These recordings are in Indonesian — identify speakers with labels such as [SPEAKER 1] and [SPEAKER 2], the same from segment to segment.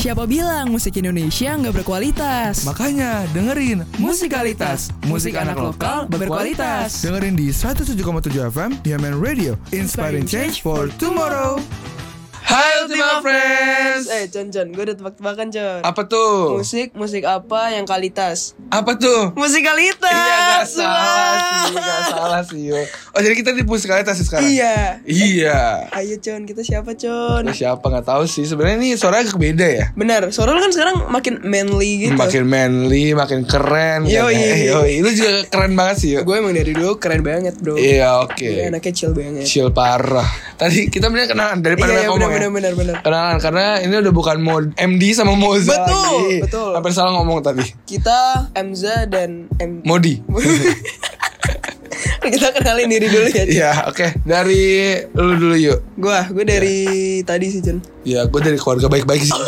[SPEAKER 1] Siapa bilang musik Indonesia nggak berkualitas?
[SPEAKER 2] Makanya dengerin
[SPEAKER 1] Musikalitas, musik anak lokal berkualitas.
[SPEAKER 2] Dengerin di 107,7 FM Diamond Radio, inspiring change for tomorrow. Hai Ultima Friends.
[SPEAKER 3] Eh, John, John, gue udah tebak-tebakan, John.
[SPEAKER 2] Apa tuh?
[SPEAKER 3] Musik, musik apa yang kualitas?
[SPEAKER 2] Apa tuh?
[SPEAKER 3] Musikalitas!
[SPEAKER 2] Iya gak salah
[SPEAKER 3] wah.
[SPEAKER 2] sih, gak salah sih. yo. Oh jadi kita di musikalitas sih sekarang.
[SPEAKER 3] Iya.
[SPEAKER 2] Iya.
[SPEAKER 3] Ayo, John, kita siapa, John?
[SPEAKER 2] Nah, siapa nggak tahu sih. Sebenarnya ini suaranya agak beda ya.
[SPEAKER 3] Benar, suara lu kan sekarang makin manly gitu.
[SPEAKER 2] Makin manly, makin keren. kan?
[SPEAKER 3] Yoi.
[SPEAKER 2] Eh, Yoi. Itu juga keren banget sih. yo.
[SPEAKER 3] Gue emang dari dulu keren banget, bro.
[SPEAKER 2] Iya oke.
[SPEAKER 3] Gue anaknya chill banget.
[SPEAKER 2] Chill parah. Tadi kita bener kenalan
[SPEAKER 3] Iya,
[SPEAKER 2] daripada
[SPEAKER 3] iya,
[SPEAKER 2] banyak ngomong
[SPEAKER 3] benar, benar,
[SPEAKER 2] ya.
[SPEAKER 3] benar, benar.
[SPEAKER 2] Kenalan karena ini udah bukan mod MD sama Moza
[SPEAKER 3] Betul,
[SPEAKER 2] lagi.
[SPEAKER 3] betul.
[SPEAKER 2] Hampir salah ngomong tadi.
[SPEAKER 3] Kita Emza dan M...
[SPEAKER 2] Modi.
[SPEAKER 3] kita kenalin diri dulu ya, John.
[SPEAKER 2] Iya, oke. Dari lu dulu yuk.
[SPEAKER 3] Gue, gue dari tadi sih, John.
[SPEAKER 2] Ya, gue dari keluarga baik-baik sih.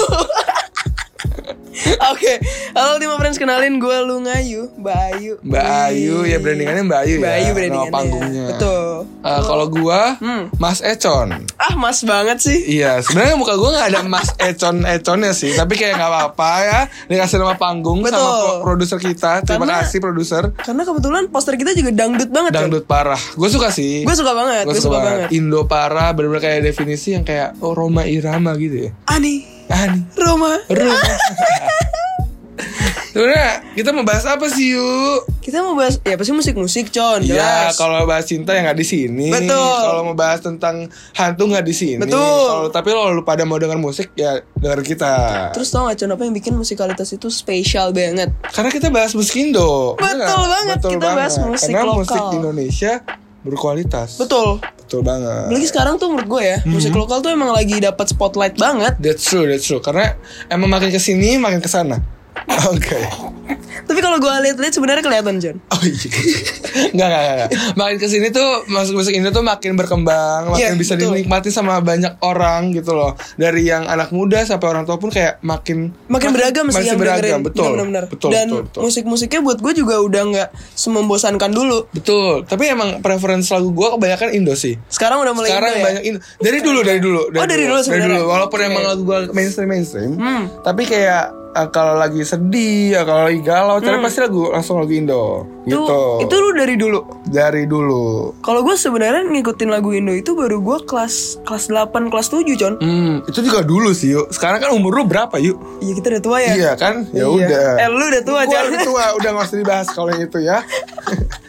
[SPEAKER 3] Oke, halo Ultima Friends, kenalin gue Lu Ngayu, Mbak Ayu.
[SPEAKER 2] Mbak Ayu, ya brandingannya Mbak Ayu ya.
[SPEAKER 3] Mbak Ayu
[SPEAKER 2] nama
[SPEAKER 3] brandingannya.
[SPEAKER 2] panggungnya.
[SPEAKER 3] Betul.
[SPEAKER 2] Eh, kalau gua
[SPEAKER 3] Hmm.
[SPEAKER 2] Mas Econ.
[SPEAKER 3] Ah, mas banget sih.
[SPEAKER 2] Iya, sebenarnya muka gua nggak ada Mas Econ Econnya sih, tapi kayak nggak apa-apa ya. Dikasih nama panggung sama
[SPEAKER 3] Betul.
[SPEAKER 2] pro- produser kita. Terima
[SPEAKER 3] Karena-
[SPEAKER 2] kasih produser.
[SPEAKER 3] Karena kebetulan poster kita juga dangdut banget kan.
[SPEAKER 2] Dangdut iya. parah. Gue suka sih.
[SPEAKER 3] Gue suka banget,
[SPEAKER 2] Gue
[SPEAKER 3] gue suka banget.
[SPEAKER 2] Indo parah, bener-bener kayak definisi yang kayak oh Roma Irama gitu ya. Ah,
[SPEAKER 3] Ani,
[SPEAKER 2] Ani.
[SPEAKER 3] Roma.
[SPEAKER 2] Roma. Sebenarnya kita mau bahas apa sih yuk?
[SPEAKER 3] Kita mau bahas ya pasti musik-musik, Con.
[SPEAKER 2] Iya,
[SPEAKER 3] jelas.
[SPEAKER 2] kalau bahas cinta ya nggak di sini.
[SPEAKER 3] Betul.
[SPEAKER 2] Kalau mau bahas tentang hantu nggak di sini.
[SPEAKER 3] Betul.
[SPEAKER 2] Kalau tapi kalau lu pada mau denger musik ya denger kita.
[SPEAKER 3] Terus tau gak Con apa yang bikin musikalitas itu spesial banget?
[SPEAKER 2] Karena kita bahas musik Indo.
[SPEAKER 3] Betul
[SPEAKER 2] Bener nggak?
[SPEAKER 3] banget, kita bahas musik
[SPEAKER 2] Karena musik
[SPEAKER 3] lokal.
[SPEAKER 2] di Indonesia berkualitas.
[SPEAKER 3] Betul.
[SPEAKER 2] Betul banget.
[SPEAKER 3] Apalagi sekarang tuh menurut gue ya, musik
[SPEAKER 2] Hmm.
[SPEAKER 3] lokal tuh emang lagi dapat spotlight banget.
[SPEAKER 2] That's true, that's true. Karena emang makin kesini makin kesana. Oke.
[SPEAKER 3] Tapi kalau gue lihat-lihat sebenarnya kelihatan, John.
[SPEAKER 2] Oh iya. Enggak, enggak, enggak. Makin kesini tuh musik-musik Indo tuh makin berkembang, makin
[SPEAKER 3] Iya,
[SPEAKER 2] bisa
[SPEAKER 3] betul.
[SPEAKER 2] dinikmati sama banyak orang gitu loh. Dari yang anak muda sampai orang tua pun kayak makin
[SPEAKER 3] Makin beragam sih
[SPEAKER 2] masih
[SPEAKER 3] yang
[SPEAKER 2] beragam,
[SPEAKER 3] dengerin. Iya,
[SPEAKER 2] betul.
[SPEAKER 3] Benar-benar.
[SPEAKER 2] Betul,
[SPEAKER 3] Dan
[SPEAKER 2] betul, betul.
[SPEAKER 3] musik-musiknya buat gue juga udah nggak semembosankan dulu.
[SPEAKER 2] Betul. Tapi emang preference lagu gua kebanyakan Indo sih.
[SPEAKER 3] Sekarang udah mulai
[SPEAKER 2] Sekarang
[SPEAKER 3] Indo ya?
[SPEAKER 2] banyak Indo. Dari dulu, dari dulu.
[SPEAKER 3] Oh, dari dulu
[SPEAKER 2] Dari
[SPEAKER 3] sebenarnya.
[SPEAKER 2] dulu. Walaupun
[SPEAKER 3] Oke. Hmm.
[SPEAKER 2] emang lagu gua mainstream mainstream, tapi kayak eh, kalau lagi sedih, ya, kalau lagi galau, cari pasti lagu langsung lagu Indo.
[SPEAKER 3] Hmm. Itu,
[SPEAKER 2] Gitu.
[SPEAKER 3] itu lu dari dulu.
[SPEAKER 2] dari dulu.
[SPEAKER 3] Kalau gue sebenarnya ngikutin lagu Indo itu baru gue kelas kelas 8, kelas 7, Con.
[SPEAKER 2] Hmm, itu juga dulu sih, yuk. Sekarang kan umur lu berapa, yuk?
[SPEAKER 3] Iya, kita udah tua ya.
[SPEAKER 2] Iya kan?
[SPEAKER 3] Iya.
[SPEAKER 2] Ya udah.
[SPEAKER 3] Eh, lu udah tua,
[SPEAKER 2] Gua
[SPEAKER 3] Jan.
[SPEAKER 2] udah tua, udah gak usah dibahas kalau yang itu ya.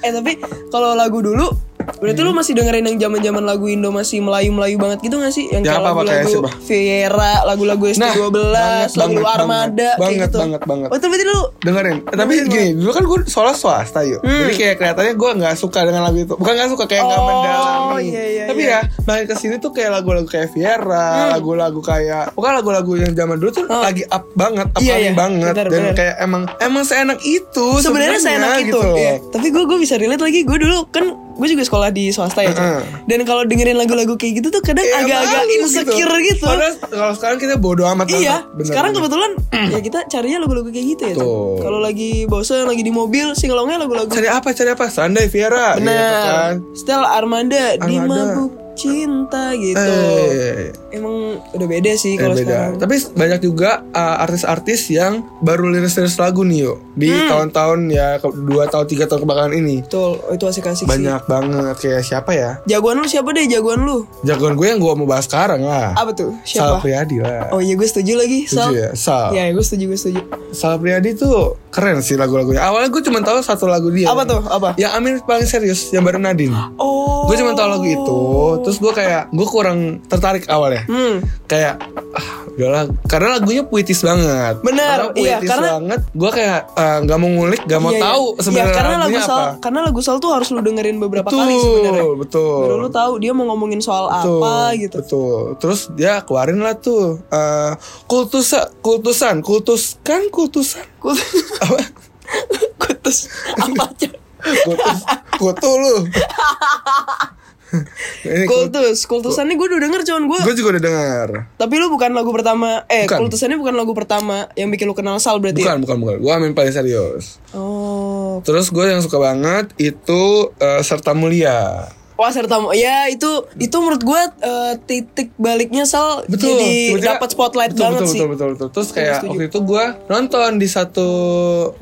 [SPEAKER 3] Eh, tapi kalau lagu dulu Berarti lu
[SPEAKER 2] Hmm.
[SPEAKER 3] masih dengerin yang zaman-zaman lagu Indo masih melayu-melayu banget gitu gak sih? Yang
[SPEAKER 2] Ya, apa-apa kayak
[SPEAKER 3] lagu-lagu
[SPEAKER 2] siapa?
[SPEAKER 3] Viera, lagu-lagu ST12,
[SPEAKER 2] Nah, banget,
[SPEAKER 3] lagu
[SPEAKER 2] banget,
[SPEAKER 3] Armada
[SPEAKER 2] banget,
[SPEAKER 3] kayak
[SPEAKER 2] banget,
[SPEAKER 3] gitu.
[SPEAKER 2] banget, banget.
[SPEAKER 3] Oh, itu berarti lu
[SPEAKER 2] Dengerin. Eh, tapi
[SPEAKER 3] Dengerin, Hmm.
[SPEAKER 2] gini, dulu kan gue sekolah swasta, yuk. Jadi kayak kelihatannya gue gak suka dengan lagu itu. Bukan gak suka, kayak gak
[SPEAKER 3] Oh,
[SPEAKER 2] mendalami.
[SPEAKER 3] iya, iya,
[SPEAKER 2] tapi
[SPEAKER 3] iya. Hmm.
[SPEAKER 2] ya, makin kesini tuh kayak lagu-lagu kayak Viera, lagu-lagu kayak... Bukan lagu-lagu yang zaman dulu tuh lagi up banget, up
[SPEAKER 3] Oh. Iya, iya.
[SPEAKER 2] banget.
[SPEAKER 3] Benar,
[SPEAKER 2] Dan
[SPEAKER 3] benar.
[SPEAKER 2] kayak emang emang seenak itu.
[SPEAKER 3] sebenarnya saya enak itu.
[SPEAKER 2] gitu loh.
[SPEAKER 3] Iya. Tapi gue gue bisa relate lagi. Gue dulu kan gue juga sekolah di swasta ya. Cok.
[SPEAKER 2] Mm-mm.
[SPEAKER 3] Dan kalau dengerin lagu-lagu kayak gitu tuh kadang
[SPEAKER 2] Kayak
[SPEAKER 3] agak-agak
[SPEAKER 2] Iya, malu
[SPEAKER 3] insecure gitu.
[SPEAKER 2] Padahal kalau sekarang kita bodo amat
[SPEAKER 3] Iya,
[SPEAKER 2] banget. Bener,
[SPEAKER 3] sekarang
[SPEAKER 2] bener.
[SPEAKER 3] kebetulan ya kita carinya lagu-lagu kayak gitu ya. Cok.
[SPEAKER 2] Tuh.
[SPEAKER 3] Kalau lagi bosen, lagi di mobil, singelongnya lagu-lagu.
[SPEAKER 2] cari apa cari apa Sandai Viera gitu kan
[SPEAKER 3] Benar. Style Armanda, di
[SPEAKER 2] Armanda.
[SPEAKER 3] mabuk cinta gitu.
[SPEAKER 2] Eh,
[SPEAKER 3] Emang udah beda sih
[SPEAKER 2] eh,
[SPEAKER 3] kalau
[SPEAKER 2] beda.
[SPEAKER 3] sekarang.
[SPEAKER 2] Tapi banyak juga uh, artis-artis yang baru liris-liris lagu nih yuk di
[SPEAKER 3] Hmm.
[SPEAKER 2] tahun-tahun ya ke- dua tahun tiga tahun kebelakangan ini
[SPEAKER 3] Betul, itu asik-asik sih.
[SPEAKER 2] banyak banget kayak siapa ya
[SPEAKER 3] Jagoan lu siapa deh jagoan lu?
[SPEAKER 2] jagoan gue yang gue mau bahas sekarang lah
[SPEAKER 3] Apa tuh?
[SPEAKER 2] Sal
[SPEAKER 3] Siapa?
[SPEAKER 2] Priadi lah
[SPEAKER 3] Oh iya gue setuju lagi, Sal.
[SPEAKER 2] Setuju ya Sal
[SPEAKER 3] Ya, gue setuju, gue setuju.
[SPEAKER 2] Sal Priadi tuh keren sih lagu-lagunya awalnya gue cuma tahu satu lagu dia
[SPEAKER 3] Apa tuh? Apa?
[SPEAKER 2] yang Amir paling serius yang baru Nadine
[SPEAKER 3] Oh.
[SPEAKER 2] gue cuma tahu lagu itu terus gue kayak gue kurang tertarik awalnya
[SPEAKER 3] Hmm.
[SPEAKER 2] kayak ah udahlah karena lagunya puitis banget
[SPEAKER 3] Benar,
[SPEAKER 2] Karena puitis
[SPEAKER 3] iya, karena-
[SPEAKER 2] banget gue kayak eh, nggak mau ngulik nggak mau
[SPEAKER 3] Iya, iya.
[SPEAKER 2] tahu sebenarnya
[SPEAKER 3] Iya, karena lagu
[SPEAKER 2] lagunya
[SPEAKER 3] soal
[SPEAKER 2] apa
[SPEAKER 3] karena lagu soal tuh harus lu dengerin beberapa
[SPEAKER 2] betul
[SPEAKER 3] kali sebenarnya.
[SPEAKER 2] betul
[SPEAKER 3] Baru lu tahu dia mau ngomongin soal apa gitu.
[SPEAKER 2] betul terus dia keluarin lah tuh eh, kultus kultusan kultus kan kultusan
[SPEAKER 3] Kut-
[SPEAKER 2] apa
[SPEAKER 3] Kutus apa aja?
[SPEAKER 2] kultus kutu lu ini
[SPEAKER 3] Kultus, kultusannya gue udah denger cuman gue.
[SPEAKER 2] gue juga udah dengar
[SPEAKER 3] Tapi lu bukan lagu pertama, eh
[SPEAKER 2] Bukan.
[SPEAKER 3] kultusannya bukan lagu pertama yang bikin lu kenal Sal berarti. ya?
[SPEAKER 2] bukan bukan bukan gue amin paling serius
[SPEAKER 3] Oh,
[SPEAKER 2] Terus gue yang suka banget itu eh, Serta Mulia.
[SPEAKER 3] Wasar Tamo. Ya itu itu menurut gua eh, titik baliknya Sal
[SPEAKER 2] betul
[SPEAKER 3] jadi
[SPEAKER 2] tiba-tiba-
[SPEAKER 3] dapat spotlight
[SPEAKER 2] betul,
[SPEAKER 3] banget
[SPEAKER 2] betul,
[SPEAKER 3] sih.
[SPEAKER 2] betul, betul betul terus kayak
[SPEAKER 3] setuju.
[SPEAKER 2] waktu itu gue nonton di satu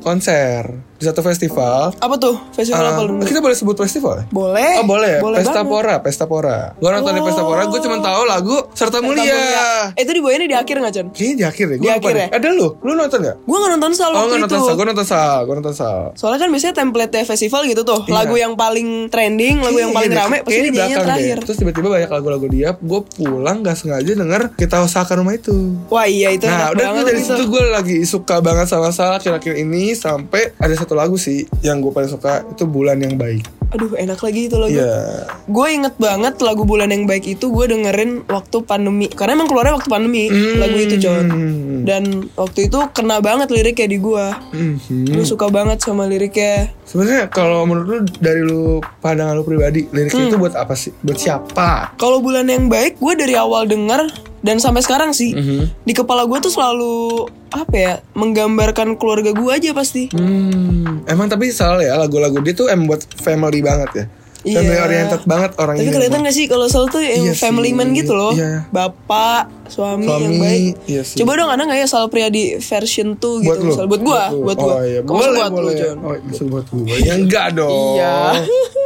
[SPEAKER 2] konser di satu festival
[SPEAKER 3] Apa tuh? Festival Oh. apa
[SPEAKER 2] Ah,
[SPEAKER 3] dulu?
[SPEAKER 2] kita boleh sebut festival
[SPEAKER 3] Boleh.
[SPEAKER 2] Oh boleh, ya?
[SPEAKER 3] Boleh
[SPEAKER 2] Pesta
[SPEAKER 3] banget.
[SPEAKER 2] Pora, Pesta Pora. Gue nonton di Pesta Pora, gue cuma tahu lagu
[SPEAKER 3] Serta
[SPEAKER 2] Serta Mulia.
[SPEAKER 3] Mulia. ya. Eh, Itu dibawainnya di akhir nggak Chan?
[SPEAKER 2] Kayaknya di akhir deh,
[SPEAKER 3] Di
[SPEAKER 2] gue lupa
[SPEAKER 3] akhir
[SPEAKER 2] deh. Eh,
[SPEAKER 3] ya?
[SPEAKER 2] Ada lu, lu nonton gak?
[SPEAKER 3] Gua nggak nonton Sal
[SPEAKER 2] Oh
[SPEAKER 3] waktu
[SPEAKER 2] nggak
[SPEAKER 3] itu.
[SPEAKER 2] nonton sal, gue nonton sal, gue nonton sal.
[SPEAKER 3] Soalnya kan biasanya template festival gitu tuh, lagu yang paling trending, lagu yang paling
[SPEAKER 2] Iya,
[SPEAKER 3] rame
[SPEAKER 2] kayaknya
[SPEAKER 3] pasti
[SPEAKER 2] di
[SPEAKER 3] dinyanyiin
[SPEAKER 2] belakang deh.
[SPEAKER 3] terakhir.
[SPEAKER 2] Terus tiba-tiba banyak lagu-lagu dia, gue pulang gak sengaja denger kita usahakan rumah itu.
[SPEAKER 3] Wah iya itu
[SPEAKER 2] nah
[SPEAKER 3] enak
[SPEAKER 2] udah tuh
[SPEAKER 3] banget
[SPEAKER 2] dari
[SPEAKER 3] itu.
[SPEAKER 2] situ gue lagi suka banget sama Sal akhir-akhir ini sampai ada satu lagu sih yang gue paling suka itu Bulan yang Baik.
[SPEAKER 3] Aduh enak lagi itu lagu.
[SPEAKER 2] Iya.
[SPEAKER 3] Gue inget banget lagu Bulan Yang Baik itu gue dengerin waktu pandemi. Karena emang keluarnya waktu pandemi lagu itu John.
[SPEAKER 2] Hmm.
[SPEAKER 3] Dan waktu itu kena banget liriknya di gue.
[SPEAKER 2] Mhm.
[SPEAKER 3] Gue suka banget sama liriknya.
[SPEAKER 2] Sebenarnya kalau menurut lu dari lu pandangan lu pribadi lirik itu
[SPEAKER 3] Hmm.
[SPEAKER 2] buat apa sih? Buat siapa?
[SPEAKER 3] Kalau Bulan Yang Baik gue dari awal denger dan sampai sekarang sih
[SPEAKER 2] Mhm.
[SPEAKER 3] di kepala gue tuh selalu apa ya menggambarkan keluarga gue aja pasti.
[SPEAKER 2] Hmm, emang tapi Sal ya lagu-lagu dia tuh emang buat family banget ya.
[SPEAKER 3] Iya.
[SPEAKER 2] Family oriented banget orang
[SPEAKER 3] Tapi
[SPEAKER 2] ini.
[SPEAKER 3] kelihatan gak sih kalau Saul tuh yang
[SPEAKER 2] Iya
[SPEAKER 3] family
[SPEAKER 2] sih,
[SPEAKER 3] man gitu loh.
[SPEAKER 2] iya.
[SPEAKER 3] Bapak, suami,
[SPEAKER 2] Suami,
[SPEAKER 3] yang baik.
[SPEAKER 2] iya sih.
[SPEAKER 3] Coba dong ada gak ya Saul Priadi version tuh
[SPEAKER 2] buat
[SPEAKER 3] gitu.
[SPEAKER 2] lu.
[SPEAKER 3] Misal, buat gua,
[SPEAKER 2] lu.
[SPEAKER 3] buat gua.
[SPEAKER 2] Oh, iya.
[SPEAKER 3] Kok
[SPEAKER 2] Boleh,
[SPEAKER 3] maksud buat lu,
[SPEAKER 2] boleh.
[SPEAKER 3] John?
[SPEAKER 2] Oh, maksud buat gua. Ya enggak dong.
[SPEAKER 3] Iya.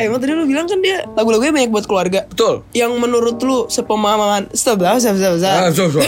[SPEAKER 3] Emang tadi lu bilang kan dia lagu-lagunya banyak buat keluarga.
[SPEAKER 2] Betul.
[SPEAKER 3] Yang menurut lu sepemahaman stop stop stop stop. stop.
[SPEAKER 2] Ah, so, so.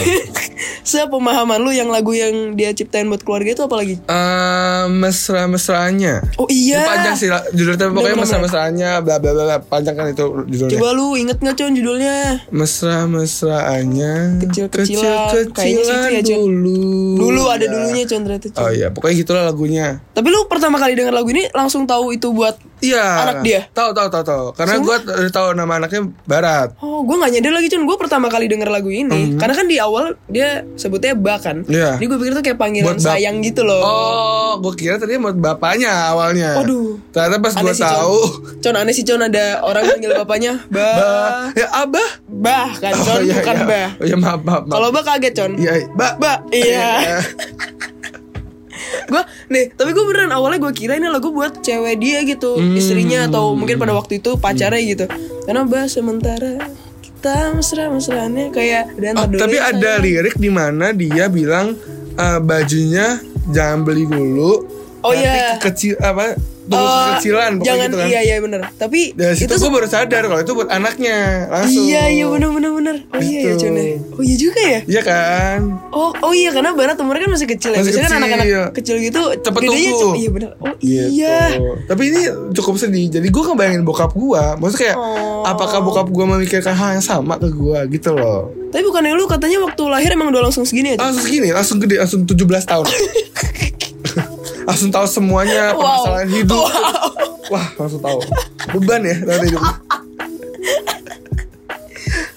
[SPEAKER 3] sepemahaman lu yang lagu yang dia ciptain buat keluarga itu apa lagi?
[SPEAKER 2] Eh, mesra-mesraannya.
[SPEAKER 3] Oh iya.
[SPEAKER 2] Itu Panjang sih lah. judulnya tapi pokoknya
[SPEAKER 3] Bener-bener.
[SPEAKER 2] mesra-mesraannya bla bla bla, bla. Panjang kan itu judulnya.
[SPEAKER 3] Coba lu inget gak con judulnya?
[SPEAKER 2] mesra-mesraannya
[SPEAKER 3] Kecil-kecilan. Kayaknya sih itu
[SPEAKER 2] kecil-kecilan
[SPEAKER 3] ya, Jon.
[SPEAKER 2] dulu
[SPEAKER 3] Dulu ada
[SPEAKER 2] Ya.
[SPEAKER 3] dulunya con ternyata Con.
[SPEAKER 2] oh iya pokoknya gitulah lagunya
[SPEAKER 3] Tapi lu pertama kali denger lagu ini langsung tahu itu buat
[SPEAKER 2] iya
[SPEAKER 3] Anak dia?
[SPEAKER 2] tahu tahu tahu tahu karena gue udah tahu nama anaknya Barat
[SPEAKER 3] Oh, gue gak nyadar lagi Cun, gue pertama kali denger lagu ini Karena kan di awal dia sebutnya Ba kan
[SPEAKER 2] Hmm. Iya.
[SPEAKER 3] Jadi gue pikir tuh kayak panggilan
[SPEAKER 2] Buat Ba.
[SPEAKER 3] sayang gitu loh
[SPEAKER 2] oh gue kira tadi buat bapaknya awalnya
[SPEAKER 3] Aduh.
[SPEAKER 2] ternyata pas gue
[SPEAKER 3] Aneh sih, Con.
[SPEAKER 2] tahu
[SPEAKER 3] Con aneh sih Con ada orang manggil bapaknya Ba
[SPEAKER 2] Ba- ya abah
[SPEAKER 3] Bah kan Con,
[SPEAKER 2] iya,
[SPEAKER 3] bukan
[SPEAKER 2] iya.
[SPEAKER 3] Ba
[SPEAKER 2] oh, ya maaf maaf, maaf.
[SPEAKER 3] Kalau Ba kaget Con
[SPEAKER 2] iya Ba
[SPEAKER 3] Ba, iya
[SPEAKER 2] Iya.
[SPEAKER 3] Gue, nih, tapi gue beneran awalnya gue kira ini lagu buat cewek dia gitu
[SPEAKER 2] Hmm.
[SPEAKER 3] Istrinya atau mungkin pada waktu itu pacarnya gitu Karena Ba sementara kita mesra-mesraannya kayak dan
[SPEAKER 2] Oh, tapi ada lirik di mana dia bilang eh, bajunya jangan beli dulu.
[SPEAKER 3] Oh,
[SPEAKER 2] nanti
[SPEAKER 3] iya.
[SPEAKER 2] Kecil apa? Tunggu
[SPEAKER 3] Eh,
[SPEAKER 2] kecilan pokoknya
[SPEAKER 3] jangan
[SPEAKER 2] gitu kan.
[SPEAKER 3] iya iya bener tapi
[SPEAKER 2] Dari situ
[SPEAKER 3] itu
[SPEAKER 2] gue baru sadar kalau itu buat anaknya langsung.
[SPEAKER 3] iya iya bener bener bener oh iya ya
[SPEAKER 2] Gitu.
[SPEAKER 3] Cun ya. oh iya juga ya
[SPEAKER 2] Iya kan?
[SPEAKER 3] oh oh iya karena Barat umurnya kan masih kecil ya
[SPEAKER 2] Masih
[SPEAKER 3] biasanya kan
[SPEAKER 2] kecil,
[SPEAKER 3] anak-anak
[SPEAKER 2] iya.
[SPEAKER 3] kecil gitu
[SPEAKER 2] Cepet
[SPEAKER 3] gedenya
[SPEAKER 2] tumbuh.
[SPEAKER 3] iya bener oh
[SPEAKER 2] Gitu.
[SPEAKER 3] iya
[SPEAKER 2] Tapi ini cukup sedih. Jadi gue ngebayangin bokap gue. Maksudnya kayak
[SPEAKER 3] Oh.
[SPEAKER 2] apakah bokap gue memikirkan hal yang sama ke gue gitu loh.
[SPEAKER 3] tapi bukannya lu katanya waktu lahir emang udah langsung segini ya, aja
[SPEAKER 2] Langsung segini, langsung gede, langsung 17 tahun. langsung tahu semuanya permasalahan hidup.
[SPEAKER 3] wow.
[SPEAKER 2] Wah, langsung tahu. Beban ya nanti hidup.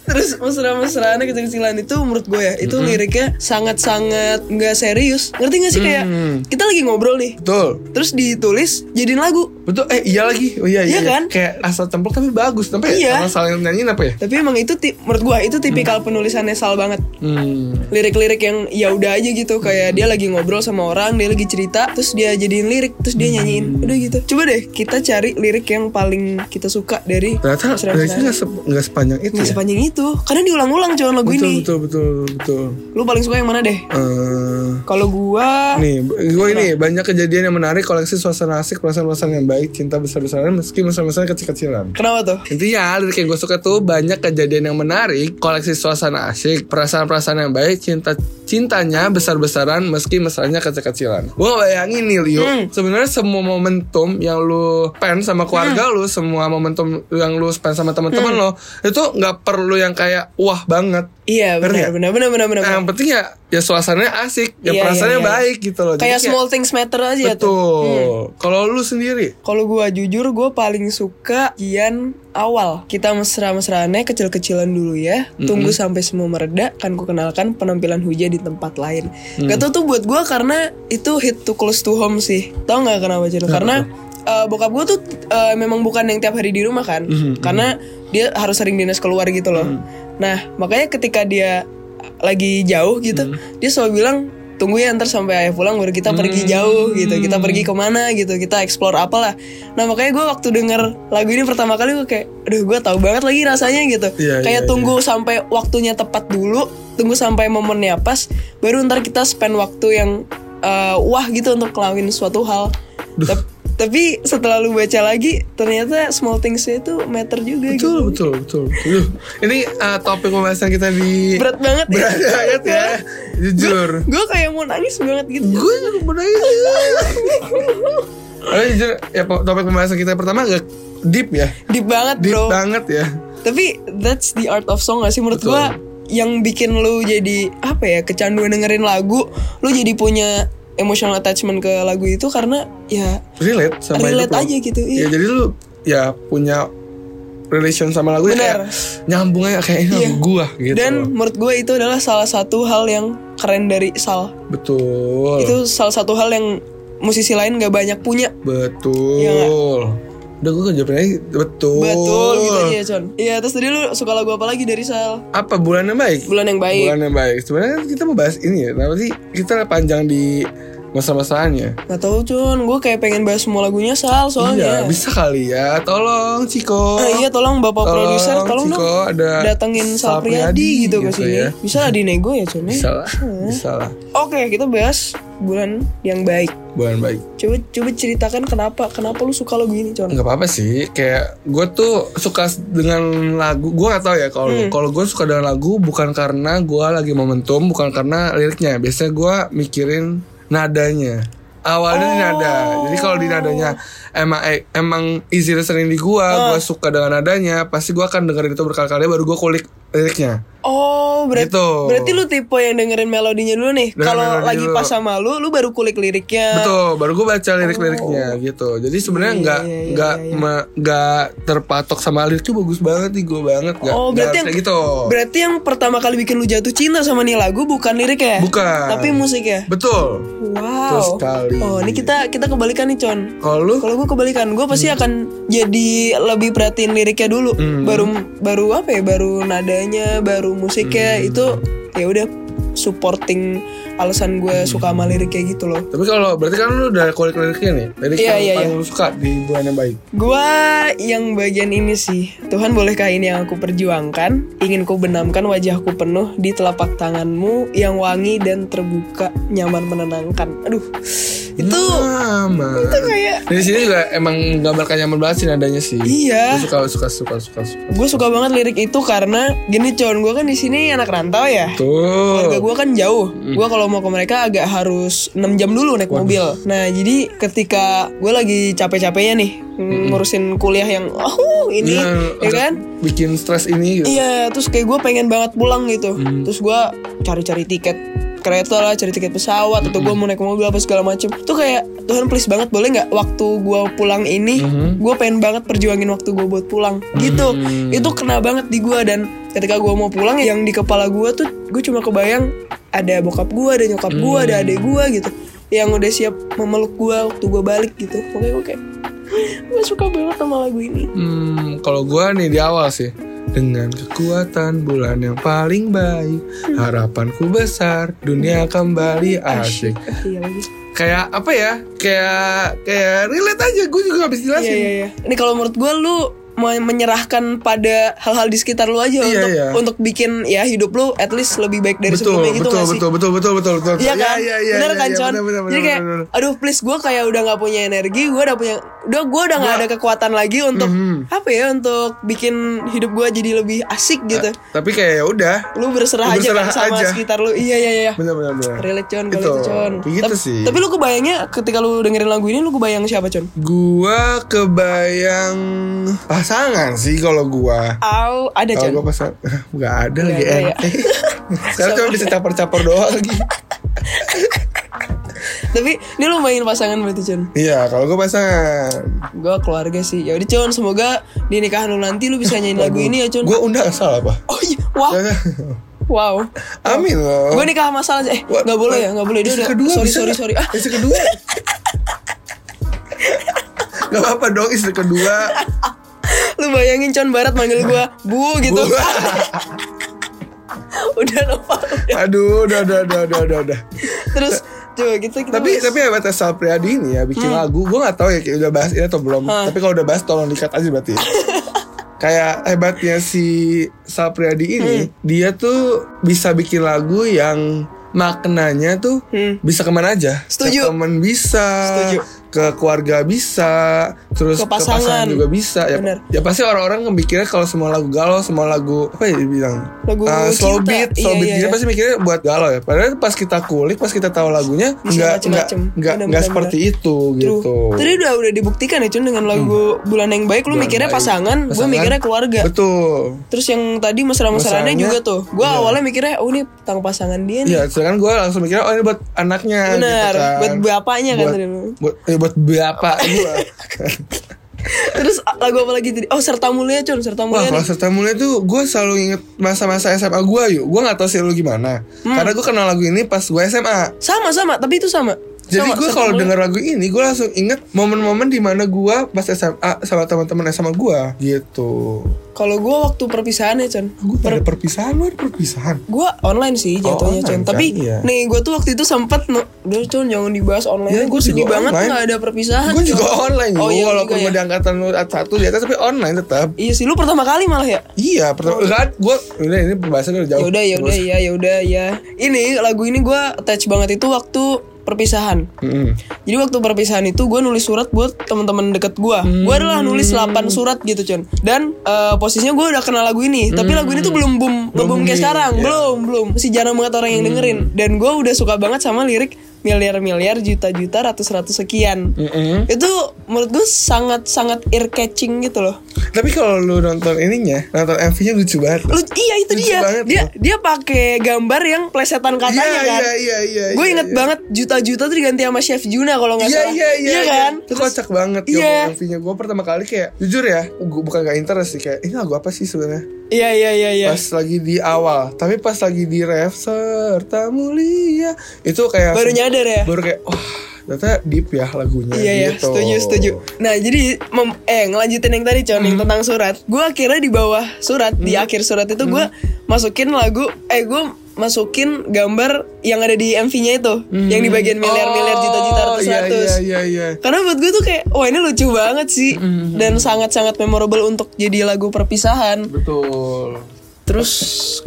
[SPEAKER 3] terus mesra-mesraan kecil-kecilan itu menurut gue ya itu liriknya sangat-sangat nggak serius ngerti gak sih kayak kita lagi ngobrol nih
[SPEAKER 2] Betul.
[SPEAKER 3] terus ditulis jadiin lagu
[SPEAKER 2] Betul. Eh, iya lagi. Oh iya, iya.
[SPEAKER 3] Iya kan?
[SPEAKER 2] Kayak asal templok tapi bagus. Tapi
[SPEAKER 3] Iya.
[SPEAKER 2] asal yang nyanyiin apa ya?
[SPEAKER 3] tapi emang itu ti- menurut gua itu
[SPEAKER 2] Mm.
[SPEAKER 3] tipikal penulisannya sal banget
[SPEAKER 2] Hmm.
[SPEAKER 3] lirik-lirik yang ya udah aja gitu kayak dia lagi ngobrol sama orang dia lagi cerita terus dia jadiin lirik terus dia nyanyiin udah gitu coba deh kita cari lirik yang paling kita suka dari
[SPEAKER 2] Ternyata
[SPEAKER 3] Mas Reza.
[SPEAKER 2] liriknya nggak se- nggak sepanjang itu
[SPEAKER 3] Nggak
[SPEAKER 2] ya.
[SPEAKER 3] sepanjang itu karena diulang-ulang cuman lagu
[SPEAKER 2] Betul,
[SPEAKER 3] ini
[SPEAKER 2] betul, betul, betul.
[SPEAKER 3] lu paling suka yang mana deh
[SPEAKER 2] Eh,
[SPEAKER 3] kalau gua
[SPEAKER 2] nih, gue ini banyak kejadian yang menarik koleksi suasana asik, perasaan-perasaan yang baik, cinta besar-besaran meski masa-masa kecil-kecilan.
[SPEAKER 3] kenapa tuh
[SPEAKER 2] Intinya lirik yang gue suka tuh banyak kejadian yang menarik, koleksi suasana asyik, perasaan-perasaan yang baik, cinta cintanya besar-besaran meski mesranya kecil-kecilan. Gue bayangin nih Liu,
[SPEAKER 3] Hmm.
[SPEAKER 2] sebenarnya semua momentum yang lu spend sama
[SPEAKER 3] Hmm.
[SPEAKER 2] keluarga lu, semua momentum yang lu spend sama teman-teman lo, itu nggak perlu yang kayak wah banget.
[SPEAKER 3] iya benar
[SPEAKER 2] Ngerti nggak?
[SPEAKER 3] benar benar benar benar.
[SPEAKER 2] Nah, yang penting ya ya suasananya asik, ya
[SPEAKER 3] Iya,
[SPEAKER 2] perasaannya
[SPEAKER 3] iya, iya.
[SPEAKER 2] baik gitu loh. Jadi
[SPEAKER 3] kayak small things matter aja tuh Hmm.
[SPEAKER 2] Betul. Kalau lu sendiri,
[SPEAKER 3] Kalau gua jujur, gua paling suka kian awal. Kita mesra-mesraannya kecil-kecilan dulu ya. Tunggu sampai semua mereda, kan ku kenalkan penampilan hujan di tempat lain.
[SPEAKER 2] Mm.
[SPEAKER 3] Gak tau tuh buat gua karena itu hit to close to home sih. Tau nggak kenapa Cil? Karena eh, bokap gua tuh eh, memang bukan yang tiap hari di rumah kan.
[SPEAKER 2] Mm-hmm,
[SPEAKER 3] Karena dia harus sering dinas keluar
[SPEAKER 2] Hmm.
[SPEAKER 3] gitu loh. Nah makanya ketika dia lagi jauh gitu, dia selalu bilang tunggu ya ntar sampai ayah pulang baru kita pergi
[SPEAKER 2] Hmm.
[SPEAKER 3] jauh gitu kita pergi kemana gitu kita explore apalah nah makanya gue waktu denger lagu ini pertama kali gue kayak aduh gue tahu banget lagi rasanya gitu
[SPEAKER 2] Iya,
[SPEAKER 3] kayak
[SPEAKER 2] iya,
[SPEAKER 3] tunggu sampai waktunya tepat dulu tunggu sampai momennya pas baru ntar kita spend waktu yang eh, wah gitu untuk ngelakuin suatu hal Tep- tapi setelah lu baca lagi ternyata small things itu matter juga gitu
[SPEAKER 2] Betul, betul, betul. Duh, ini eh, topik pembahasan kita di
[SPEAKER 3] berat banget ya.
[SPEAKER 2] berat banget ya, jujur.
[SPEAKER 3] gue kayak mau nangis banget gitu
[SPEAKER 2] Gue juga pernah ini. Tapi jujur, ya po- topik pembahasan kita pertama agak deep ya,
[SPEAKER 3] deep banget
[SPEAKER 2] deep
[SPEAKER 3] bro
[SPEAKER 2] banget ya.
[SPEAKER 3] tapi that's the art of song gak sih menurut
[SPEAKER 2] Betul.
[SPEAKER 3] gue yang bikin lu jadi apa ya kecanduan dengerin lagu lu jadi punya emotional attachment ke lagu itu karena ya
[SPEAKER 2] Relate sama hidup
[SPEAKER 3] relate
[SPEAKER 2] lo.
[SPEAKER 3] aja gitu
[SPEAKER 2] Ya
[SPEAKER 3] iya
[SPEAKER 2] jadi lu ya punya relation sama lagu ya kayak
[SPEAKER 3] Bener.
[SPEAKER 2] nyambung aja kayak ini lagu
[SPEAKER 3] Iya.
[SPEAKER 2] gua gitu.
[SPEAKER 3] dan menurut gue itu adalah salah satu hal yang keren dari Sal
[SPEAKER 2] betul.
[SPEAKER 3] itu salah satu hal yang musisi lain gak banyak punya
[SPEAKER 2] Betul.
[SPEAKER 3] Iya
[SPEAKER 2] Udah gue jawabnya betul.
[SPEAKER 3] betul gitu
[SPEAKER 2] Oh.
[SPEAKER 3] aja Con iya terus tadi lu suka lagu apa lagi dari Sal
[SPEAKER 2] Apa bulan yang baik?
[SPEAKER 3] bulan yang baik
[SPEAKER 2] Bulan yang baik. Sebenarnya kan kita mau bahas ini ya. Kenapa sih kita panjang di masa-masanya?
[SPEAKER 3] Gak tau Cun, gue kayak pengen bahas semua lagunya Sal
[SPEAKER 2] Iya,
[SPEAKER 3] soalnya
[SPEAKER 2] bisa kali ya. Tolong Ciko.
[SPEAKER 3] Ah, Iya tolong bapak produser tolong
[SPEAKER 2] Ciko,
[SPEAKER 3] dong
[SPEAKER 2] ada
[SPEAKER 3] datengin Sal
[SPEAKER 2] Sal
[SPEAKER 3] Priadi gitu ke sini
[SPEAKER 2] ya.
[SPEAKER 3] Bisa lah dinego ya Cun ya?
[SPEAKER 2] Bisa lah, bisa lah.
[SPEAKER 3] Oke kita bahas bulan yang baik
[SPEAKER 2] Bulan baik.
[SPEAKER 3] Coba coba ceritakan kenapa, kenapa lu suka lagu ini Cun
[SPEAKER 2] nggak apa-apa sih kayak gue tuh suka s- dengan lagu gue gak tahu ya kalau
[SPEAKER 3] Hmm.
[SPEAKER 2] kalau gue suka dengan lagu bukan karena gue lagi momentum bukan karena liriknya biasanya gue mikirin nadanya awalnya di nada jadi kalau di nadanya
[SPEAKER 3] Oh.
[SPEAKER 2] emang eh, emang easy listening di gue gue suka dengan nadanya pasti gue akan dengerin itu berkali-kali baru gue kulik liriknya
[SPEAKER 3] Oh berarti,
[SPEAKER 2] Gitu.
[SPEAKER 3] berarti lu tipe yang dengerin melodinya dulu nih
[SPEAKER 2] Dengerin
[SPEAKER 3] Kalau
[SPEAKER 2] melodi
[SPEAKER 3] lagi
[SPEAKER 2] dulu.
[SPEAKER 3] pas sama lu, lu baru kulik liriknya
[SPEAKER 2] Betul, baru gue baca lirik-liriknya gitu. Jadi sebenarnya
[SPEAKER 3] Oh. Iya,
[SPEAKER 2] nggak
[SPEAKER 3] iya, iya,
[SPEAKER 2] nggak me- nggak terpatok sama lirik tuh bagus banget nih gue banget nggak
[SPEAKER 3] Oh,
[SPEAKER 2] nggak
[SPEAKER 3] berarti
[SPEAKER 2] harus
[SPEAKER 3] yang-
[SPEAKER 2] kayak gitu.
[SPEAKER 3] Berarti yang pertama kali bikin lu jatuh cinta sama nih lagu bukan liriknya
[SPEAKER 2] Bukan.
[SPEAKER 3] Tapi musiknya
[SPEAKER 2] Betul. Betul
[SPEAKER 3] Wow.
[SPEAKER 2] sekali.
[SPEAKER 3] Oh, ini kita kita kebalikan nih, Con.
[SPEAKER 2] Kalau lu
[SPEAKER 3] Kalau gue kebalikan, gue pasti akan jadi lebih perhatiin liriknya dulu, baru baru apa ya, baru nadanya, baru musiknya itu ya udah supporting alasan gue suka sama liriknya gitu loh.
[SPEAKER 2] tapi kalau berarti kan lu udah kulik liriknya nih. Lirik
[SPEAKER 3] Iya,
[SPEAKER 2] yang
[SPEAKER 3] iya,
[SPEAKER 2] paling lu suka di bulan yang baik.
[SPEAKER 3] Gue yang bagian ini sih, Tuhan bolehkah ini yang aku perjuangkan? Ingin ku benamkan wajahku penuh di telapak tanganmu yang wangi dan terbuka, nyaman menenangkan. Aduh, itu
[SPEAKER 2] Mama.
[SPEAKER 3] itu kayak
[SPEAKER 2] Di Nah, sini juga emang gambarkan nyaman banget sih nadanya sih.
[SPEAKER 3] iya.
[SPEAKER 2] Gua suka suka suka suka. suka.
[SPEAKER 3] gue suka banget lirik itu karena gini con gue kan di sini anak rantau ya keluarga
[SPEAKER 2] Tuh.
[SPEAKER 3] gue kan jauh gue kalau mau ke mereka agak harus 6 jam dulu naik mobil nah jadi ketika gue lagi capek-capeknya nih ngurusin kuliah yang oh ini
[SPEAKER 2] Iya,
[SPEAKER 3] ya kan
[SPEAKER 2] Bikin stres ini gitu.
[SPEAKER 3] Iya, terus kayak gue pengen banget pulang gitu. Terus gue cari-cari tiket kereta lah, cari tiket pesawat, atau gue mau naik mobil apa segala macem. Tuh kayak Tuhan please banget boleh nggak waktu gue pulang ini, gue pengen banget perjuangin waktu gue buat pulang. Gitu, itu kena banget di gue dan ketika gue mau pulang yang di kepala gue tuh gue cuma kebayang ada bokap gue, ada nyokap gue, ada adik gue gitu yang udah siap memeluk gue waktu gue balik gitu. Oke oke, gue suka banget sama lagu ini.
[SPEAKER 2] Hmm, kalau gua nih di awal sih dengan kekuatan bulan yang paling baik, harapanku besar, dunia kembali asyik.
[SPEAKER 3] Iya lagi.
[SPEAKER 2] Kayak apa ya? Kayak kayak relate aja. Gue juga habis jelasin.
[SPEAKER 3] Iya iya iya. Ini kalau menurut gue lu me- menyerahkan pada hal-hal di sekitar lu aja
[SPEAKER 2] Iya,
[SPEAKER 3] untuk
[SPEAKER 2] iya.
[SPEAKER 3] untuk bikin ya hidup lu at least lebih baik dari
[SPEAKER 2] betul,
[SPEAKER 3] sebelumnya gitu
[SPEAKER 2] betul,
[SPEAKER 3] nggak sih?
[SPEAKER 2] betul, betul, betul, betul, betul,
[SPEAKER 3] Iya kan?
[SPEAKER 2] Iya, iya,
[SPEAKER 3] bener
[SPEAKER 2] iya,
[SPEAKER 3] kan,
[SPEAKER 2] iya,
[SPEAKER 3] Con?
[SPEAKER 2] bener, bener,
[SPEAKER 3] Jadi
[SPEAKER 2] bener,
[SPEAKER 3] kayak,
[SPEAKER 2] bener, bener.
[SPEAKER 3] aduh please gue kayak udah nggak punya energi, gue udah punya, udah gue udah nggak ada kekuatan lagi untuk
[SPEAKER 2] Mhm.
[SPEAKER 3] apa ya, untuk bikin hidup gue jadi lebih asik gitu.
[SPEAKER 2] Tapi kayak ya udah,
[SPEAKER 3] Lu berserah,
[SPEAKER 2] Lu berserah
[SPEAKER 3] aja kan sama
[SPEAKER 2] aja.
[SPEAKER 3] sekitar lu. Iya iya iya.
[SPEAKER 2] bener, bener, bener.
[SPEAKER 3] Relate Con,
[SPEAKER 2] Gitu.
[SPEAKER 3] kalau itu Con.
[SPEAKER 2] Gitu
[SPEAKER 3] Tapi-
[SPEAKER 2] sih.
[SPEAKER 3] Tapi lu kebayangnya ketika lu dengerin lagu ini lu kebayang siapa Con?
[SPEAKER 2] Gua kebayang pasangan sih kalau gua.
[SPEAKER 3] Au, ada Con.
[SPEAKER 2] Kalau gua pasang, nggak ada lagi
[SPEAKER 3] Iya, ada ya.
[SPEAKER 2] ente. Sekarang cuma bisa caper-caper doang.
[SPEAKER 3] Tapi ini lu main pasangan berarti Con?
[SPEAKER 2] Iya, kalau gua pasangan,
[SPEAKER 3] Gue keluarga sih. Ya udah Con, semoga di nikahan lu nanti lu bisa nyanyiin lagu ini ya Con.
[SPEAKER 2] gua Oh. undang salah apa? Ya kan?
[SPEAKER 3] Oh iya, wow, wow.
[SPEAKER 2] Amin loh.
[SPEAKER 3] Gue nikah sama Sal aja. Eh,
[SPEAKER 2] Wah,
[SPEAKER 3] nggak boleh
[SPEAKER 2] wah,
[SPEAKER 3] ya, nggak boleh dia
[SPEAKER 2] istri
[SPEAKER 3] udah.
[SPEAKER 2] kedua,
[SPEAKER 3] sorry,
[SPEAKER 2] bisa
[SPEAKER 3] sorry,
[SPEAKER 2] nggak?
[SPEAKER 3] sorry. Ah,
[SPEAKER 2] Istri kedua. Gak apa-apa dong istri kedua
[SPEAKER 3] lu bayangin Con Barat manggil gue bu gitu.
[SPEAKER 2] Bu.
[SPEAKER 3] udah lupa.
[SPEAKER 2] Aduh udah udah udah udah udah, udah.
[SPEAKER 3] terus coba kita kita
[SPEAKER 2] tapi
[SPEAKER 3] bahas-
[SPEAKER 2] tapi hebat Sal Priadi ini ya bikin
[SPEAKER 3] Hmm.
[SPEAKER 2] lagu gue nggak tahu ya kayak udah bahas ini atau belum
[SPEAKER 3] Hah.
[SPEAKER 2] tapi kalau udah bahas tolong dikat aja berarti kayak hebatnya si Sal Priadi ini
[SPEAKER 3] Hmm.
[SPEAKER 2] dia tuh bisa bikin lagu yang maknanya tuh
[SPEAKER 3] Hmm.
[SPEAKER 2] bisa kemana aja
[SPEAKER 3] Setuju.
[SPEAKER 2] ke temen bisa
[SPEAKER 3] Setuju.
[SPEAKER 2] ke keluarga bisa terus
[SPEAKER 3] Ke
[SPEAKER 2] ke
[SPEAKER 3] pasangan.
[SPEAKER 2] pasangan, juga bisa ya,
[SPEAKER 3] Bener.
[SPEAKER 2] ya pasti orang-orang mikirnya kalau semua lagu galau semua lagu apa ya dibilang
[SPEAKER 3] Lagu
[SPEAKER 2] Ah, slow
[SPEAKER 3] cinta.
[SPEAKER 2] beat,
[SPEAKER 3] Iya,
[SPEAKER 2] slow beat
[SPEAKER 3] iya,
[SPEAKER 2] gini
[SPEAKER 3] iya.
[SPEAKER 2] pasti mikirnya buat galau ya. Padahal pas kita kulik, pas kita tahu lagunya
[SPEAKER 3] Bisa
[SPEAKER 2] nggak nggak
[SPEAKER 3] macem-macem.
[SPEAKER 2] nggak
[SPEAKER 3] Bener,
[SPEAKER 2] nggak
[SPEAKER 3] bener,
[SPEAKER 2] seperti itu
[SPEAKER 3] True.
[SPEAKER 2] gitu. Hmm.
[SPEAKER 3] Tadi udah udah dibuktikan ya Cun dengan lagu Bulan yang Baik lu
[SPEAKER 2] Bulan
[SPEAKER 3] mikirnya
[SPEAKER 2] baik.
[SPEAKER 3] pasangan, gue
[SPEAKER 2] Pasangan.
[SPEAKER 3] mikirnya keluarga.
[SPEAKER 2] Betul.
[SPEAKER 3] Terus yang tadi mesra-mesraannya
[SPEAKER 2] Mesraannya,
[SPEAKER 3] juga tuh. Gue awalnya mikirnya oh ini tentang pasangan dia nih.
[SPEAKER 2] Iya, sedangkan gue langsung mikirnya oh ini buat anaknya
[SPEAKER 3] Benar,
[SPEAKER 2] gitu kan.
[SPEAKER 3] buat bapaknya kan
[SPEAKER 2] buat,
[SPEAKER 3] tadi lu.
[SPEAKER 2] buat, eh, buat bapak gue.
[SPEAKER 3] Terus lagu apa lagi tadi? Oh, serta mulia Cun, serta
[SPEAKER 2] Wah,
[SPEAKER 3] mulia.
[SPEAKER 2] kalau
[SPEAKER 3] nih.
[SPEAKER 2] serta mulia tuh gue selalu inget masa-masa SMA gue yuk. Gue nggak tahu sih lu gimana.
[SPEAKER 3] Hmm.
[SPEAKER 2] Karena gue kenal lagu ini pas gue SMA.
[SPEAKER 3] Sama sama, tapi itu sama.
[SPEAKER 2] Jadi
[SPEAKER 3] Sama,
[SPEAKER 2] gue
[SPEAKER 3] Serta
[SPEAKER 2] kalau
[SPEAKER 3] Mulia.
[SPEAKER 2] denger lagu ini gue langsung inget momen-momen dimana gue pas SMA sama teman-teman SMA gue gitu.
[SPEAKER 3] kalau gue waktu perpisahan ya Cun.
[SPEAKER 2] Gue ada perpisahan, lu ada perpisahan.
[SPEAKER 3] Gue online sih
[SPEAKER 2] Oh,
[SPEAKER 3] jatuhnya Cun.
[SPEAKER 2] online kan,
[SPEAKER 3] Tapi
[SPEAKER 2] iya.
[SPEAKER 3] nih gue tuh waktu itu sempet no, Udah Cun jangan dibahas online.
[SPEAKER 2] Iya,
[SPEAKER 3] gue
[SPEAKER 2] gua
[SPEAKER 3] sedih
[SPEAKER 2] juga
[SPEAKER 3] banget
[SPEAKER 2] online.
[SPEAKER 3] nggak ada perpisahan.
[SPEAKER 2] Gue juga
[SPEAKER 3] Cun.
[SPEAKER 2] online
[SPEAKER 3] Oh,
[SPEAKER 2] oh,
[SPEAKER 3] iya, lu
[SPEAKER 2] walaupun
[SPEAKER 3] juga
[SPEAKER 2] gue
[SPEAKER 3] ya.
[SPEAKER 2] di angkatan lu satu di atas tapi online tetap.
[SPEAKER 3] Iya sih, lu pertama kali malah ya.
[SPEAKER 2] Iya, pertama gue udah ini pembahasan udah jauh.
[SPEAKER 3] Ya udah ya udah ya ya udah ya. Ini lagu ini gue attach banget itu waktu perpisahan.
[SPEAKER 2] Mm-mm.
[SPEAKER 3] Jadi waktu perpisahan itu gue nulis surat buat teman-teman deket gue. Gue
[SPEAKER 2] Hmm.
[SPEAKER 3] adalah nulis 8 surat gitu Con. Dan eh, posisinya gue udah kenal lagu ini. Tapi lagu ini tuh belum boom, belum boom kayak
[SPEAKER 2] Hmm. booming, Hmm.
[SPEAKER 3] sekarang.
[SPEAKER 2] ya.
[SPEAKER 3] Belum belum. Masih jarang banget orang yang dengerin. Dan gue udah suka banget sama lirik miliar miliar juta juta ratus ratus sekian.
[SPEAKER 2] Mm-mm.
[SPEAKER 3] Itu menurut gue sangat sangat ear catching gitu loh.
[SPEAKER 2] Tapi kalau lu nonton ininya, nonton MV-nya lucu banget.
[SPEAKER 3] Lu iya itu
[SPEAKER 2] Lucu
[SPEAKER 3] dia.
[SPEAKER 2] banget
[SPEAKER 3] Dia
[SPEAKER 2] loh.
[SPEAKER 3] dia pakai gambar yang plesetan
[SPEAKER 2] Iya,
[SPEAKER 3] katanya kan.
[SPEAKER 2] iya, iya, iya.
[SPEAKER 3] Gue
[SPEAKER 2] iya,
[SPEAKER 3] inget
[SPEAKER 2] iya.
[SPEAKER 3] banget juta-juta tuh diganti sama Chef Juna kalau nggak
[SPEAKER 2] Iya
[SPEAKER 3] salah.
[SPEAKER 2] iya iya
[SPEAKER 3] kan?
[SPEAKER 2] Itu kocak banget ya
[SPEAKER 3] Iya.
[SPEAKER 2] yeah. MV-nya Gue pertama kali kayak Jujur ya gua Bukan gak interest sih Kayak ini lagu apa sih sebenarnya
[SPEAKER 3] Iya iya iya iya.
[SPEAKER 2] Pas lagi di awal Tapi pas lagi di ref Serta mulia Itu kayak
[SPEAKER 3] Baru nyadar ya.
[SPEAKER 2] baru kayak wah ternyata deep ya lagunya
[SPEAKER 3] Iya ya,
[SPEAKER 2] gitu.
[SPEAKER 3] setuju setuju. Nah jadi mem- eh ngelanjutin yang tadi Con
[SPEAKER 2] Hmm.
[SPEAKER 3] yang tentang surat. Gue akhirnya di bawah surat di akhir surat itu gue
[SPEAKER 2] Hmm.
[SPEAKER 3] masukin lagu eh gue masukin gambar yang ada di MV-nya itu, yang di bagian miliar-miliar
[SPEAKER 2] Hmm. Oh,
[SPEAKER 3] juta-juta ratus
[SPEAKER 2] iya,
[SPEAKER 3] ratus.
[SPEAKER 2] iya Hmm, iya iya
[SPEAKER 3] Karena buat gue tuh kayak wah ini lucu banget sih dan sangat-sangat memorable untuk jadi lagu perpisahan.
[SPEAKER 2] betul
[SPEAKER 3] Terus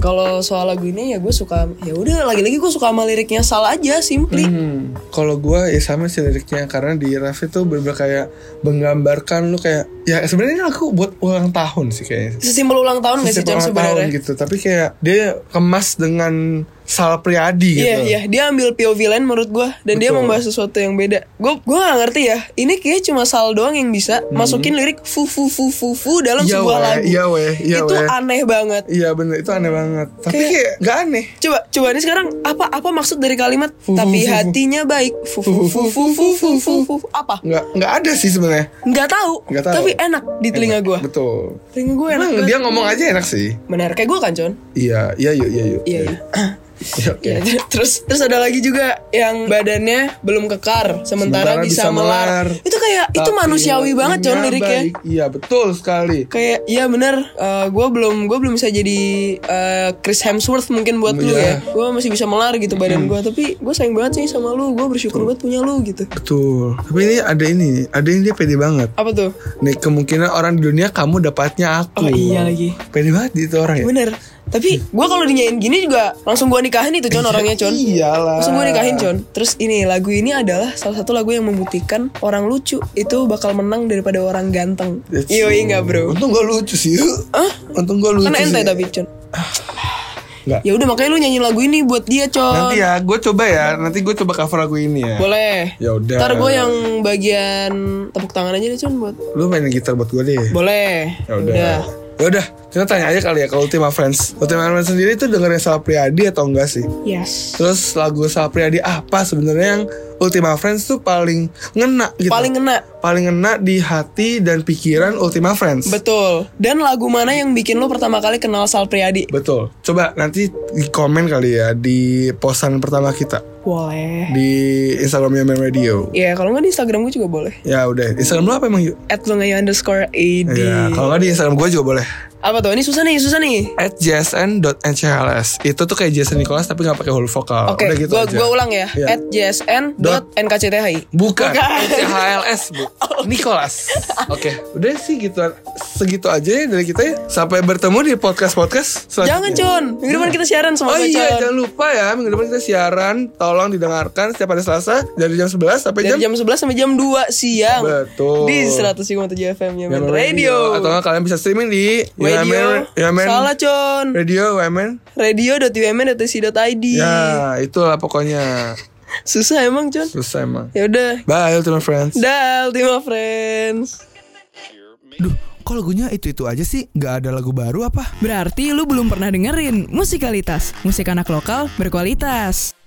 [SPEAKER 3] kalau soal lagu ini ya gue suka ya udah lagi-lagi gue suka sama liriknya salah aja simply.
[SPEAKER 2] Hmm, kalau gua ya sama sih liriknya karena di ref itu bener kayak menggambarkan lu kayak ya sebenarnya ini aku buat ulang tahun sih kayaknya
[SPEAKER 3] Sesimpel ulang tahun gak sih
[SPEAKER 2] Setiap
[SPEAKER 3] Con
[SPEAKER 2] ulang tahun
[SPEAKER 3] sebenarnya?
[SPEAKER 2] gitu tapi kayak dia kemas dengan Sal Priadi gitu
[SPEAKER 3] Iya iya dia ambil POV lain menurut gua dan dia
[SPEAKER 2] Betul.
[SPEAKER 3] membahas sesuatu yang beda. Gue gua gak ngerti ya. Ini kayak cuma Sal doang yang bisa masukin lirik fu fu fu fu fu dalam
[SPEAKER 2] Hmm. Iya,
[SPEAKER 3] Kan sebuah
[SPEAKER 2] weh,
[SPEAKER 3] lagu.
[SPEAKER 2] iya, weh, iya,
[SPEAKER 3] Itu
[SPEAKER 2] weh.
[SPEAKER 3] aneh banget.
[SPEAKER 2] Iya, bener itu aneh banget tapi
[SPEAKER 3] Kayak-
[SPEAKER 2] kayak gak aneh
[SPEAKER 3] Coba coba ini sekarang apa apa maksud dari kalimat
[SPEAKER 2] Fu, fu,
[SPEAKER 3] tapi
[SPEAKER 2] fu, fu."
[SPEAKER 3] hatinya baik fu fu fu fu fu fu fu fu fu." apa?
[SPEAKER 2] nggak nggak ada sih sebenarnya
[SPEAKER 3] Nggak tahu,
[SPEAKER 2] Nggak tahu.
[SPEAKER 3] Tapi enak di telinga
[SPEAKER 2] Enak,
[SPEAKER 3] gua.
[SPEAKER 2] betul
[SPEAKER 3] Telinga gua enak.
[SPEAKER 2] Emang
[SPEAKER 3] banget.
[SPEAKER 2] Hmm, dia ngomong aja enak sih
[SPEAKER 3] Benar kayak gua kan, Con?
[SPEAKER 2] Iya, iya yuk, iya yuk.
[SPEAKER 3] Iya, iya.
[SPEAKER 2] Iya, oke.
[SPEAKER 3] Iya, terus terus ada lagi juga yang badannya belum kekar sementara,
[SPEAKER 2] Sementara
[SPEAKER 3] bisa,
[SPEAKER 2] bisa
[SPEAKER 3] melar.
[SPEAKER 2] melar.
[SPEAKER 3] Itu kayak itu
[SPEAKER 2] Tapi
[SPEAKER 3] manusiawi banget Con
[SPEAKER 2] lagunya
[SPEAKER 3] liriknya.
[SPEAKER 2] baik. Iya, betul sekali.
[SPEAKER 3] kayak iya bener eh, gue belum gue belum bisa jadi eh, Chris Hemsworth mungkin buat lu
[SPEAKER 2] Iya. Hmm.
[SPEAKER 3] ya gue masih bisa melar gitu badan gue tapi gue sayang banget sih sama lu gue bersyukur banget punya lu gitu
[SPEAKER 2] Betul. Tapi ini ada ini, ada ini dia pede banget.
[SPEAKER 3] apa tuh
[SPEAKER 2] Nih kemungkinan orang di dunia kamu dapatnya
[SPEAKER 3] oh
[SPEAKER 2] aku.
[SPEAKER 3] iya lagi
[SPEAKER 2] Pede banget itu orang ya.
[SPEAKER 3] bener tapi gue kalau dinyain gini juga langsung gue nikahin itu
[SPEAKER 2] Iya.
[SPEAKER 3] con orangnya con
[SPEAKER 2] Iyalah.
[SPEAKER 3] langsung gue nikahin con terus ini lagu ini adalah salah satu lagu yang membuktikan orang lucu itu bakal menang daripada orang ganteng
[SPEAKER 2] That's
[SPEAKER 3] iya
[SPEAKER 2] true.
[SPEAKER 3] enggak bro
[SPEAKER 2] Untung gue lucu sih.
[SPEAKER 3] Hah?
[SPEAKER 2] Untung gue lucu.
[SPEAKER 3] kan
[SPEAKER 2] sih.
[SPEAKER 3] ente tapi con
[SPEAKER 2] Enggak.
[SPEAKER 3] ya udah makanya lu nyanyi lagu ini buat dia con
[SPEAKER 2] Nanti ya, gue coba ya. Nanti gue coba cover lagu ini ya.
[SPEAKER 3] boleh
[SPEAKER 2] Ya udah.
[SPEAKER 3] Ntar gue yang bagian tepuk tangan aja deh Cun buat
[SPEAKER 2] Lu main gitar buat gue deh.
[SPEAKER 3] Boleh
[SPEAKER 2] Ya udah. Ya udah, kita tanya aja kali ya ke Ultima Friends. Ultima Friends sendiri tuh dengerin Sal Priadi atau enggak sih?
[SPEAKER 3] Yes
[SPEAKER 2] Terus lagu Sal Priadi apa sebenarnya yang Ultima Friends tuh paling ngena gitu.
[SPEAKER 3] Paling ngena
[SPEAKER 2] paling ngena di hati dan pikiran Ultima Friends.
[SPEAKER 3] Betul Dan lagu mana yang bikin lo pertama kali kenal Sal Priadi
[SPEAKER 2] Betul. Coba nanti di komen kali ya di posan pertama kita.
[SPEAKER 3] Boleh.
[SPEAKER 2] di Instagramnya Mem Radio.
[SPEAKER 3] Ya kalau nggak di Instagram gue juga boleh.
[SPEAKER 2] Ya udah, Instagram lu apa emang yuk?
[SPEAKER 3] At lungayu underscore ad.
[SPEAKER 2] Ya, kalau nggak di Instagram gue juga boleh.
[SPEAKER 3] Apa tuh? Ini susah nih, susah nih.
[SPEAKER 2] At jsn.nchls itu tuh kayak Jason Nicholas tapi nggak pakai huruf vokal.
[SPEAKER 3] Oke,
[SPEAKER 2] udah gitu
[SPEAKER 3] gua
[SPEAKER 2] aja.
[SPEAKER 3] gua ulang ya.
[SPEAKER 2] Iya.
[SPEAKER 3] At jsn.nkcthi.
[SPEAKER 2] Bukan,
[SPEAKER 3] Bukan. Oh,
[SPEAKER 2] NCHLS bu Nicholas Oke Udah sih gitu Segitu aja ya dari kita ya Sampai bertemu di podcast-podcast
[SPEAKER 3] Jangan
[SPEAKER 2] selanjutnya
[SPEAKER 3] Con, minggu depan kita siaran
[SPEAKER 2] Oh
[SPEAKER 3] semoga
[SPEAKER 2] iya
[SPEAKER 3] Con.
[SPEAKER 2] jangan lupa ya Minggu depan kita siaran Tolong didengarkan setiap hari Selasa Dari jam 11 sampai
[SPEAKER 3] Dari jam
[SPEAKER 2] jam,
[SPEAKER 3] 11 sampai jam 2 siang.
[SPEAKER 2] Betul.
[SPEAKER 3] Di 100,7 FM Yaman
[SPEAKER 2] Yaman
[SPEAKER 3] ya, Radio.
[SPEAKER 2] Atau Ya, nggak kalian bisa streaming di
[SPEAKER 3] Radio.
[SPEAKER 2] Yaman- Yaman
[SPEAKER 3] Salah Con.
[SPEAKER 2] Radio Yaman
[SPEAKER 3] Radio.umn.ac.id.
[SPEAKER 2] Ya itulah pokoknya
[SPEAKER 3] Susah emang Con.
[SPEAKER 2] Susah emang
[SPEAKER 3] Ya udah.
[SPEAKER 2] Bye Ultimate Friends
[SPEAKER 3] Dah, Ultima Friends.
[SPEAKER 1] Duh, kok lagunya itu-itu aja sih? Gak ada lagu baru apa?
[SPEAKER 4] Berarti lu belum pernah dengerin musikalitas, musik anak lokal berkualitas.